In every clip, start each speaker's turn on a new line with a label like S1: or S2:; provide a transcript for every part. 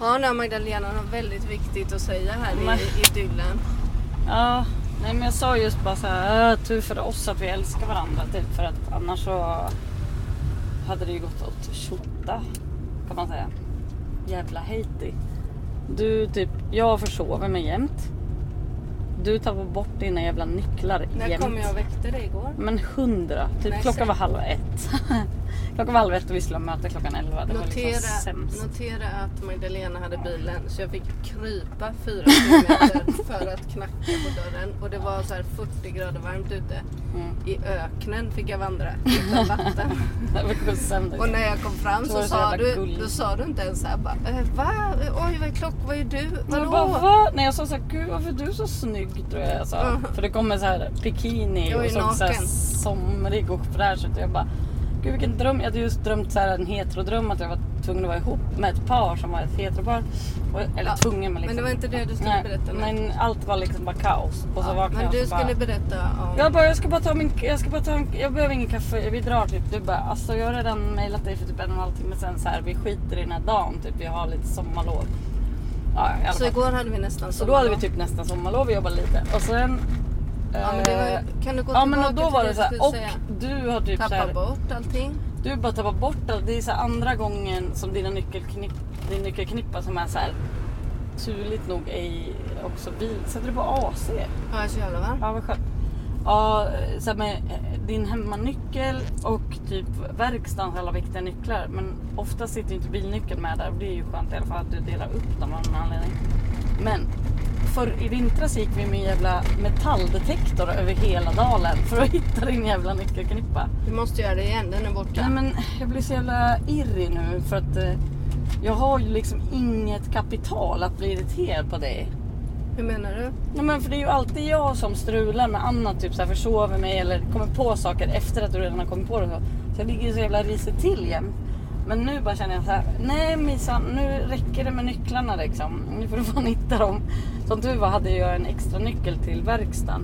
S1: Hanna och Magdalena har väldigt viktigt att säga här
S2: Nej.
S1: i idyllen.
S2: Ja, nej men jag sa just bara så här, "Äh, tur för oss att vi älskar varandra typ för att annars så hade det ju gått åt tjotta kan man säga. Jävla Haiti. Du typ, jag försover mig jämt. Du tappar bort dina jävla nycklar
S1: När
S2: jämt.
S1: kom jag och väckte dig igår?
S2: Men hundra. Typ
S1: Nej,
S2: klockan
S1: säg.
S2: var halv ett. klockan var halv ett och vi skulle ha möte klockan elva. Det var liksom
S1: Notera,
S2: sämst.
S1: notera att Magdalena hade bilen så jag fick krypa fyra kilometer för att knacka på dörren och det var så här 40 grader varmt ute.
S2: Mm.
S1: I öknen fick jag vandra utan vatten.
S2: Det var sjukt sämst.
S1: Och när jag kom fram
S2: Då
S1: så
S2: var det så
S1: sa
S2: jävla
S1: du,
S2: gulligt.
S1: då sa du inte ens såhär bara "Eh, Va? Oj vad är klockan? Vad är du?
S2: Jag
S1: Vadå?
S2: bara, va? Nej jag sa såhär, gud varför är du så snygg? Tror jag jag sa.
S1: Mm.
S2: För det kommer såhär bikini
S1: Jag är
S2: och såg
S1: naken.
S2: såhär somrig och fräsch ut. Och jag bara, gud vilken dröm. Jag hade just drömt såhär en heterodröm att jag var tvungen att vara ihop med ett par som var ett heteropar. Och, eller
S1: Ja,
S2: tvungen men
S1: Men
S2: liksom.
S1: det var inte det du skulle
S2: Nej,
S1: berätta nu.
S2: men allt var liksom bara kaos. Och så
S1: ja,
S2: vaknade
S1: men
S2: jag och
S1: du
S2: så bara,
S1: skulle berätta om...
S2: jag bara, jag ska bara ta min, jag ska bara ta en, jag behöver ingen kaffe, vi drar typ. Du bara, alltså jag har redan mejlat dig för typ en och en halv timme sen så här, vi skiter i den här dagen typ, vi har lite sommarlov. Ja, i alla
S1: så
S2: fall.
S1: igår hade vi nästan
S2: Så då hade vi typ nästan sommarlov och jobbade lite. Och sen...
S1: Ja men det
S2: eh,
S1: var, kan du gå
S2: ja,
S1: tillbaka
S2: men och då
S1: till
S2: var
S1: det
S2: det
S1: jag
S2: så här,
S1: skulle
S2: och
S1: säga?
S2: du har typ så
S1: Tappa
S2: här,
S1: bort allting.
S2: du bara tappar bort allt. Det är så här andra gången som dina nyckelknipp, din nyckelknippa som är så här turligt nog ej också bil. Sätter du på AC?
S1: Ja, jag är så jävla varm.
S2: Ja vad skönt. Ja, så här med eh, din hemmanyckel och typ verkstadens alla viktiga nycklar. Men ofta sitter ju inte bilnyckeln med där och det är ju skönt i alla fall att du delar upp dem av någon anledning. Men för i vintras gick vi med en jävla metalldetektor över hela dalen för att hitta din jävla nyckelknippa.
S1: Du måste göra det igen, den är
S2: Nej
S1: borta.
S2: men jag blir så jävla irrig nu för att eh, jag har ju liksom inget kapital att bli irriterad på dig.
S1: Hur menar du?
S2: Nej, men för det är ju alltid jag som strular med annat, typ så här försover mig eller kommer på saker efter att du redan har kommit på det. och Så Så jag ligger ju så jävla risigt till jämt. Men nu bara känner jag så här, nej Misan, nu räcker det med nycklarna liksom. Nu får du fan hitta dem. Som tur var hade jag en extra nyckel till verkstaden.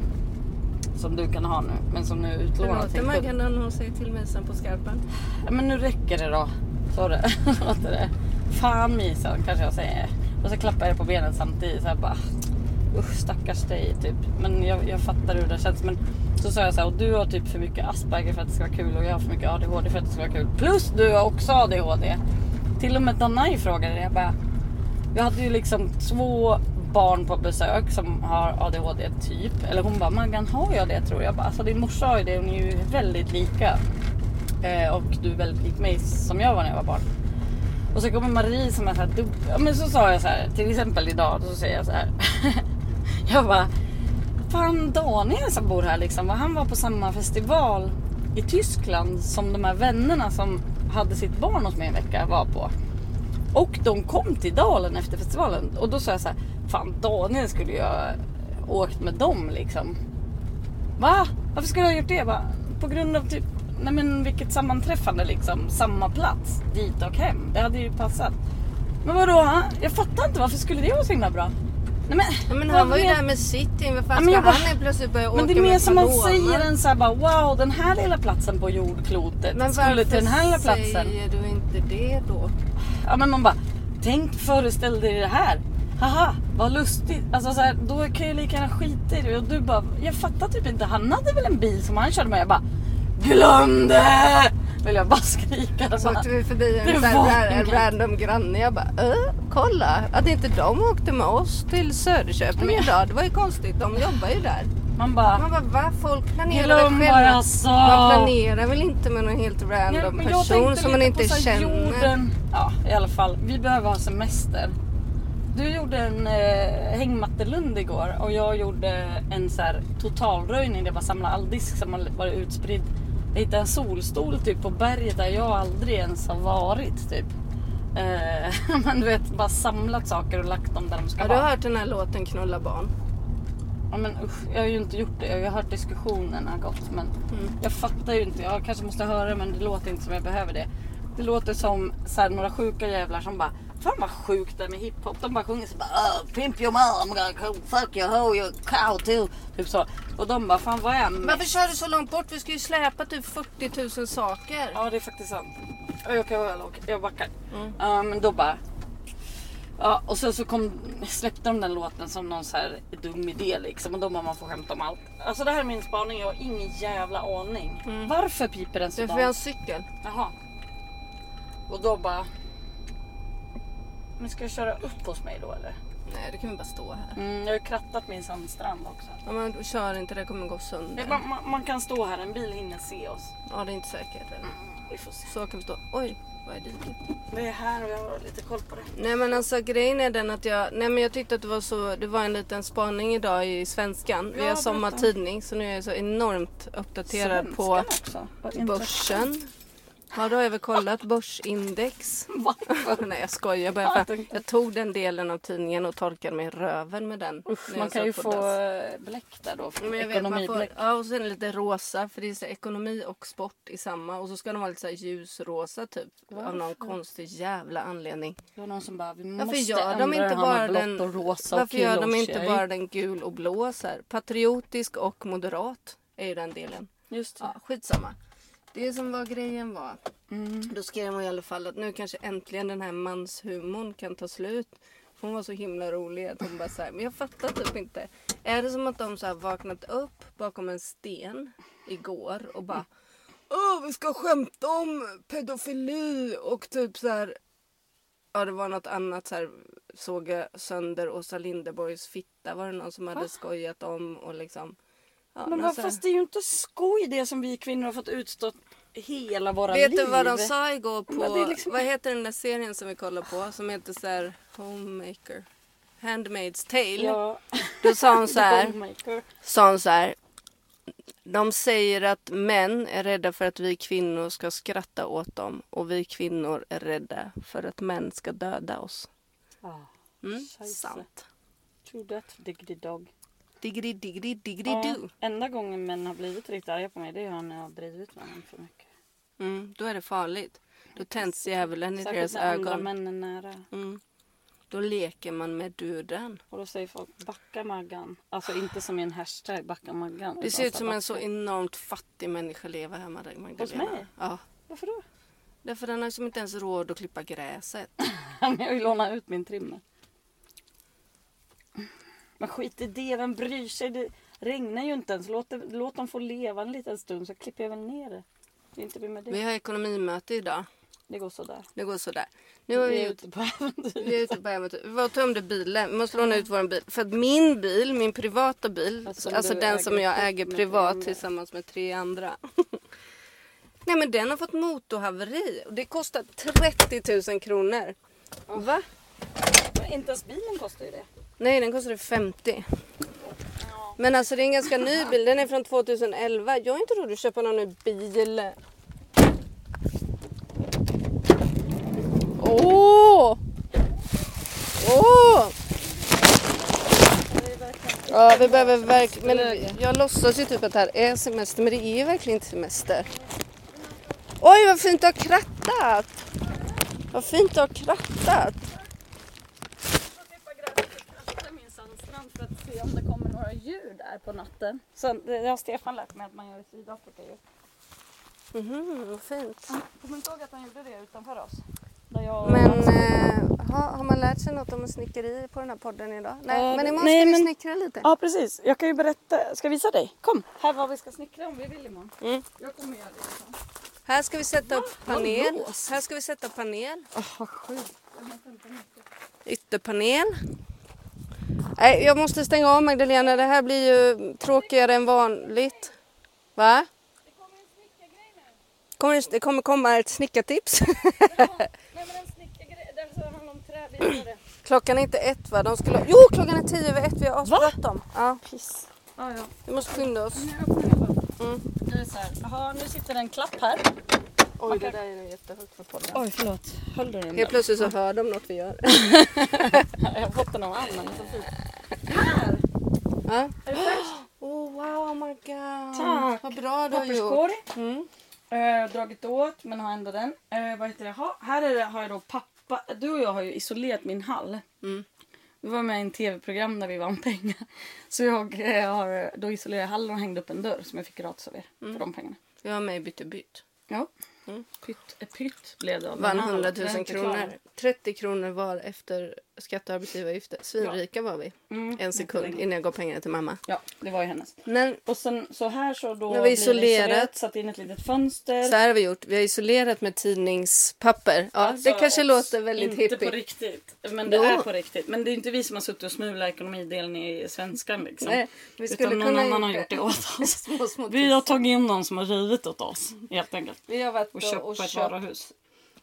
S2: Som du kan ha nu, men som nu är utlånad.
S1: Förlåt,
S2: till
S1: man
S2: kunden.
S1: kan hon säger till Misan på skarpen.
S2: Ja, men nu räcker det då. Så det låter det. Fan Misan kanske jag säger. Och så klappar jag på benen samtidigt. Så jag bara, usch stackars dig typ. Men jag, jag fattar hur det känns. Men så sa jag så här, och du har typ för mycket Asperger för att det ska vara kul och jag har för mycket ADHD för att det ska vara kul. Plus du har också ADHD. Till och med Danai frågade det. Jag bara, jag hade ju liksom två barn på besök som har ADHD typ. Eller hon bara, Maggan har jag det tror jag. jag bara, alltså din morsa har ju det och ni är ju väldigt lika. Eh, och du är väldigt lik mig som jag var när jag var barn. Och så kommer Marie som är så här dubb... ja, men så sa jag så här, till exempel idag så säger jag så här. jag bara, fan Daniel som bor här liksom, va, han var på samma festival i Tyskland som de här vännerna som hade sitt barn hos mig en vecka var på. Och de kom till Dalen efter festivalen och då sa jag så här, fan Daniel skulle ju ha åkt med dem liksom. Va? Varför skulle jag ha gjort det? Jag Bara, på grund av typ, nej men vilket sammanträffande liksom. Samma plats, dit och hem. Det hade ju passat. Men vadå? ha? Jag fattar inte, varför skulle det vara så himla bra? Nej men,
S1: Ja, men
S2: vad
S1: han var ju
S2: men-
S1: där med sitt team. Vad
S2: Ja,
S1: fan
S2: men
S1: ska
S2: jag bara-
S1: han helt plötsligt börja åka
S2: Men det är mer
S1: med
S2: som man
S1: Paloma?
S2: säger än såhär bara wow den här lilla platsen på jordklotet
S1: Men
S2: skulle till den här lilla
S1: varför
S2: platsen.
S1: säger du inte det då?
S2: Ja men man bara, tänk föreställ dig det här. Haha, vad lustigt. Alltså så här, då kan jag ju lika gärna skita i det. Och du bara, jag fattar typ inte. Han hade väl en bil som han körde med. Jag bara, glöm det! Vill jag bara skrika.
S1: Så
S2: Bara,
S1: åkte vi förbi
S2: Det
S1: en, sån här,
S2: var
S1: ra- en
S2: ingen-
S1: random granne. Jag bara, äh, kolla att inte de åkte med oss till Söderköping idag. Det var ju konstigt, de jobbar ju där.
S2: man bara,
S1: Man bara, va? Folk planerar
S2: glöm alltså."
S1: väl
S2: vad
S1: själva.
S2: jag sa.
S1: Man planerar väl inte med någon helt
S2: Nej,
S1: random
S2: men jag
S1: person
S2: tänkte
S1: som man
S2: lite på
S1: inte
S2: så här
S1: känner.
S2: Jorden. Ja, i alla fall. Vi behöver ha semester. Du gjorde en eh, hängmattelund igår och jag gjorde en så här totalröjning. Det var samla all disk som har varit utspridd. Jag hittade en solstol typ på berget där jag aldrig ens har varit typ. Eh, men du vet, bara samlat saker och lagt dem där de ska
S1: Har du
S2: vara.
S1: hört den här låten Knulla barn?
S2: Ja, men usch, jag har ju inte gjort det. Jag har ju hört diskussionerna gott. Men
S1: Mm.
S2: jag fattar ju inte. Jag kanske måste höra det, men det låter inte som jag behöver det. Det låter som så här, några sjuka jävlar som bara Fan vad sjukt det är med hiphop. De bara sjunger så bara "Oh, Pimp your mom, fuck your hoe, your cow too. Typ så. Och de bara fan vad är jag
S1: Varför kör du så långt bort? Vi ska ju släpa typ 40 000 saker.
S2: Ja, det är faktiskt sant. Oj, Okej, okay, jag backar.
S1: Mm.
S2: Ja, men då bara... Ja, och sen så kom, släppte de den låten som någon så här dum idé liksom. Och då bara man får skämta om allt. Alltså det här är min spaning. Jag har ingen jävla aning.
S1: Mm.
S2: Varför piper den så
S1: Du
S2: då?
S1: får jag en cykel.
S2: Jaha. Och då bara... Men ska jag köra upp hos mig då eller?
S1: Nej, du kan väl bara stå här.
S2: Mm, jag har ju krattat min sandstrand också.
S1: Ja, men du kör inte, det kommer gå
S2: Det, är
S1: sönder.
S2: bara- man, man kan stå här, en bil hinner se oss.
S1: Ja, det är inte säkert. Eller?
S2: Vi får se.
S1: Så kan Mm. vi stå. Oj, vad är diket?
S2: Det är här och jag har lite koll på det.
S1: Nej men alltså grejen är den att jag, nej men jag tyckte att det var så, det var en liten spaning idag i svenskan. Vi
S2: Ja,
S1: har
S2: berätta.
S1: sommartidning så nu är jag så enormt uppdaterad på
S2: Svenskan också.
S1: börsen. Ja då har jag väl kollat börsindex.
S2: Va?
S1: nej jag skojar bara.
S2: Ja, jag
S1: För
S2: tänkte-
S1: jag tog den delen av tidningen och torkade mig i röven med den. när
S2: Man
S1: jag
S2: kan
S1: satt
S2: ju
S1: på
S2: få
S1: dass.
S2: eh, bläck där då.
S1: Men jag vet, man får,
S2: Ekonomibläck.
S1: ja, och sen lite rosa för det är så här, ekonomi och sport i samma. Och så ska de vara lite så här ljusrosa typ. Av någon konstig jävla anledning.
S2: Det var någon som bara, vi måste
S1: Varför gör de
S2: ändra
S1: inte
S2: det här
S1: bara
S2: med blått
S1: den
S2: och rosa
S1: Varför
S2: och
S1: gör de
S2: kul och
S1: inte
S2: tjej.
S1: bara den gul och blå så här? Patriotisk och moderat är ju den delen.
S2: Just det.
S1: Ja, skitsamma. Det som var grejen var,
S2: Mm.
S1: då skrev hon i alla fall att nu kanske äntligen den här manshumorn kan ta slut. För Hon var så himla rolig att hon bara så här, men jag fattar typ inte. Är det som att de så här vaknat upp bakom en sten igår och bara Åh, vi ska skämta om pedofili och typ så här Ja, det var något annat så här. Såg jag sönder Åsa Linderborgs fitta var det någon som hade skojat om och liksom. Ja,
S2: Men
S1: någon
S2: vad,
S1: så här-
S2: fast det är ju inte skoj det som vi kvinnor har fått utstå hela våra
S1: Vet
S2: liv.
S1: du vad de sa igår på...
S2: Men det är liksom-
S1: Vad heter den där serien som vi kollar på som heter så här Homemaker? Handmaid's Tale.
S2: Ja. Oh
S1: Då sa hon så här.
S2: Homemaker.
S1: sa hon så här. De säger att män är rädda för att vi kvinnor ska skratta åt dem och vi kvinnor är rädda för att män ska döda oss.
S2: Ja.
S1: Mm,
S2: Scheisse.
S1: sant.
S2: Ah. True that diggity dog.
S1: Diggidi diggidi diggidi
S2: Ja,
S1: do.
S2: enda gången män har blivit riktigt arga på mig det är när jag har drivit med dem för mycket.
S1: Mm, då är det farligt. Då tänds djävulen i
S2: Särskilt
S1: deras
S2: när andra
S1: ögon.
S2: män är nära.
S1: Mm. Då leker man med döden.
S2: Och då säger folk backa Maggan. Alltså inte som i en hashtag backa Maggan. Alltså,
S1: Det
S2: utan
S1: ser ut
S2: här,
S1: som en så
S2: "Backa."
S1: enormt fattig människa lever hemma där Magdalena.
S2: mig?
S1: Ja.
S2: Varför då?
S1: Därför den har som inte ens råd att klippa gräset.
S2: Men jag vill låna ut min trimmer. Men skit i det, vem bryr sig? Det regnar ju inte ens. Låt, det, låt dem få leva en liten stund så klipper jag väl ner det. Det är inte vi med
S1: Vi
S2: det.
S1: har ekonomimöte idag.
S2: Det går sådär.
S1: Det går sådär. Nu har vi,
S2: är
S1: ut,
S2: ute på äventyr.
S1: vi är ute på äventyr. Vi var och tömde bilen. Vi måste låna ut vår bil. För att min bil, min privata bil,
S2: Fast som
S1: alltså
S2: du
S1: den
S2: äger
S1: som jag
S2: ihop
S1: äger
S2: med
S1: privat
S2: tre
S1: tillsammans med tre andra. Nej men den har fått motorhaveri. Och det kostar 30 000 kronor. Va?
S2: Men Inte ens bilen kostar ju det.
S1: Nej, den kostade 50. Men alltså det är en ganska ny bil. Den är från 2011. Jag har inte råd att köpa någon ny bil. Åh! Åh! Ja, vi behöver verkligen... Men jag låtsas ju typ att det här är semester, men det är ju verkligen inte semester. Oj, vad fint du har krattat! Vad fint du har krattat!
S2: min sandstrand för att se om det kommer några djur där på natten. Så det har Stefan lärt mig att man gör i Sydafrika ju.
S1: Mhm, vad fint.
S2: Kommer inte ihåg att han gjorde det utanför oss? Där jag och
S1: Men
S2: hans-
S1: eh, ha, har man lärt sig något om snickeri på den här podden idag? Nej,
S2: Eh,
S1: men imorgon
S2: nej,
S1: ska vi
S2: men-
S1: snickra lite.
S2: Ja precis, jag kan ju berätta. Ska jag visa dig? Kom! Här vad vi ska snickra om vi vill imorgon.
S1: Mm.
S2: Jag kommer göra det.
S1: Här ska vi sätta upp
S2: Vad
S1: panel.
S2: lås.
S1: Här ska vi sätta panel.
S2: Åh sjukt.
S1: Ytterpanel. Nej, jag måste stänga av Magdalena. Det här blir ju tråkigare än vanligt. Va? Kommer det, det kommer komma ett snickartips.
S2: Nej men den snickargrejen, den som handlar om träbitar.
S1: klockan är inte ett va? De skulle... Jo, klockan är tio över ett. Vi har asbråttom. Ja,
S2: Piss. Ja ja.
S1: vi måste skynda oss.
S2: Nu öppnar vi bara.
S1: Mm.
S2: Nu är det så här. Jaha, nu sitter det en klapp här.
S1: Oj, det där är jättehögt för podden.
S2: Oj förlåt. Höll du den?
S1: Helt plötsligt så hör de något vi gör.
S2: Jag har fått den av Anna. men så fint. Här!
S1: Ja.
S2: Är du färdig?
S1: Oh wow, oh my god.
S2: Tack.
S1: Vad bra du har gjort.
S2: Papperskorg.
S1: Mm.
S2: Eh, dragit åt men har ändå den. Eh, vad heter det? Ha, här är det, har jag då pappa. Du och jag har ju isolerat min hall.
S1: Mm.
S2: Vi var med i en tv-program där vi vann pengar. Så jag eh, har då isolerat hallen och hängde upp en dörr som jag fick gratis av er för de pengarna.
S1: Jag har mig bytte bytt.
S2: Ja.
S1: Mm.
S2: Pytt, eh, pytt blev det av
S1: Vann
S2: min hall.
S1: 100
S2: Jag är
S1: 000
S2: inte klar.
S1: kronor. 30 kronor var efter skatt och arbetsgivaravgifter. Svinrika var vi.
S2: Mm,
S1: En sekund
S2: jättelänge.
S1: innan jag gav pengarna till mamma.
S2: Ja, det var ju hennes.
S1: Men
S2: Och sen så här så då
S1: Nu har
S2: blir
S1: vi
S2: det
S1: isolerat.
S2: satt in ett litet fönster.
S1: så här har vi gjort. Vi har isolerat med tidningspapper. Ja,
S2: Alltså,
S1: det kanske låter väldigt
S2: Inte på
S1: hippie.
S2: riktigt. Men det
S1: Jo.
S2: är på riktigt. Men det är inte vi som har suttit och smulat ekonomidelen i svenskan liksom.
S1: Nej, vi skulle
S2: Utan någon
S1: kunna
S2: annan har
S1: gjort
S2: gjort
S1: det.
S2: det åt oss.
S1: Små, små
S2: Vi har tagit in någon som har rivit åt oss helt enkelt.
S1: Vi har varit
S2: Och köpt
S1: och
S2: på ett
S1: köpt
S2: varuhus.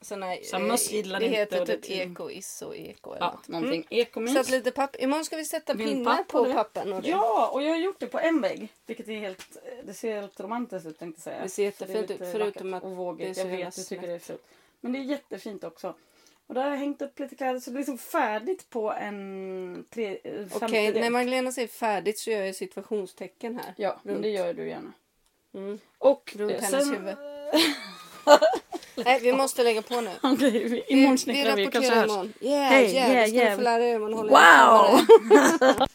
S1: såna här...
S2: Så möss gillar
S1: det
S2: inte
S1: heter
S2: och det är
S1: typ
S2: tidning.
S1: eko, iss och eko eller
S2: Ja,
S1: något.
S2: någonting. Ekomys.
S1: Mm. Så att lite papper. Imorgon ska vi sätta
S2: Vill
S1: pinnar
S2: pappa
S1: på
S2: det?
S1: pappern och det.
S2: Ja, och jag har gjort det på en vägg. Vilket är helt, det ser helt romantiskt ut tänkte jag säga.
S1: Det ser jättefint
S2: För det är
S1: ut,
S2: lite
S1: förutom
S2: vackert
S1: att
S2: och vågigt.
S1: det är så
S2: Jag
S1: jävla
S2: vet, du tycker
S1: snett.
S2: det är fult. Men det är jättefint också. Och där har jag hängt upp lite kläder så det är liksom färdigt på en tre, eh,
S1: Okej,
S2: femtedel.
S1: när Magdalena säger färdigt så gör jag situationstecken här.
S2: Ja, men
S1: Runt.
S2: det gör du gärna.
S1: Mm.
S2: Och
S1: Runt
S2: eh,
S1: hennes huvud. Nej, vi måste lägga på nu.
S2: Okej, vi-
S1: Vi,
S2: imorgon snickrar vi. Kanske
S1: rapporterar
S2: hörs.
S1: imorgon. Yeah,
S2: Hej,
S1: yeah,
S2: yeah,
S1: det ska
S2: yeah.
S1: ni få lära er hur man håller i en
S2: Wow!
S1: kammare.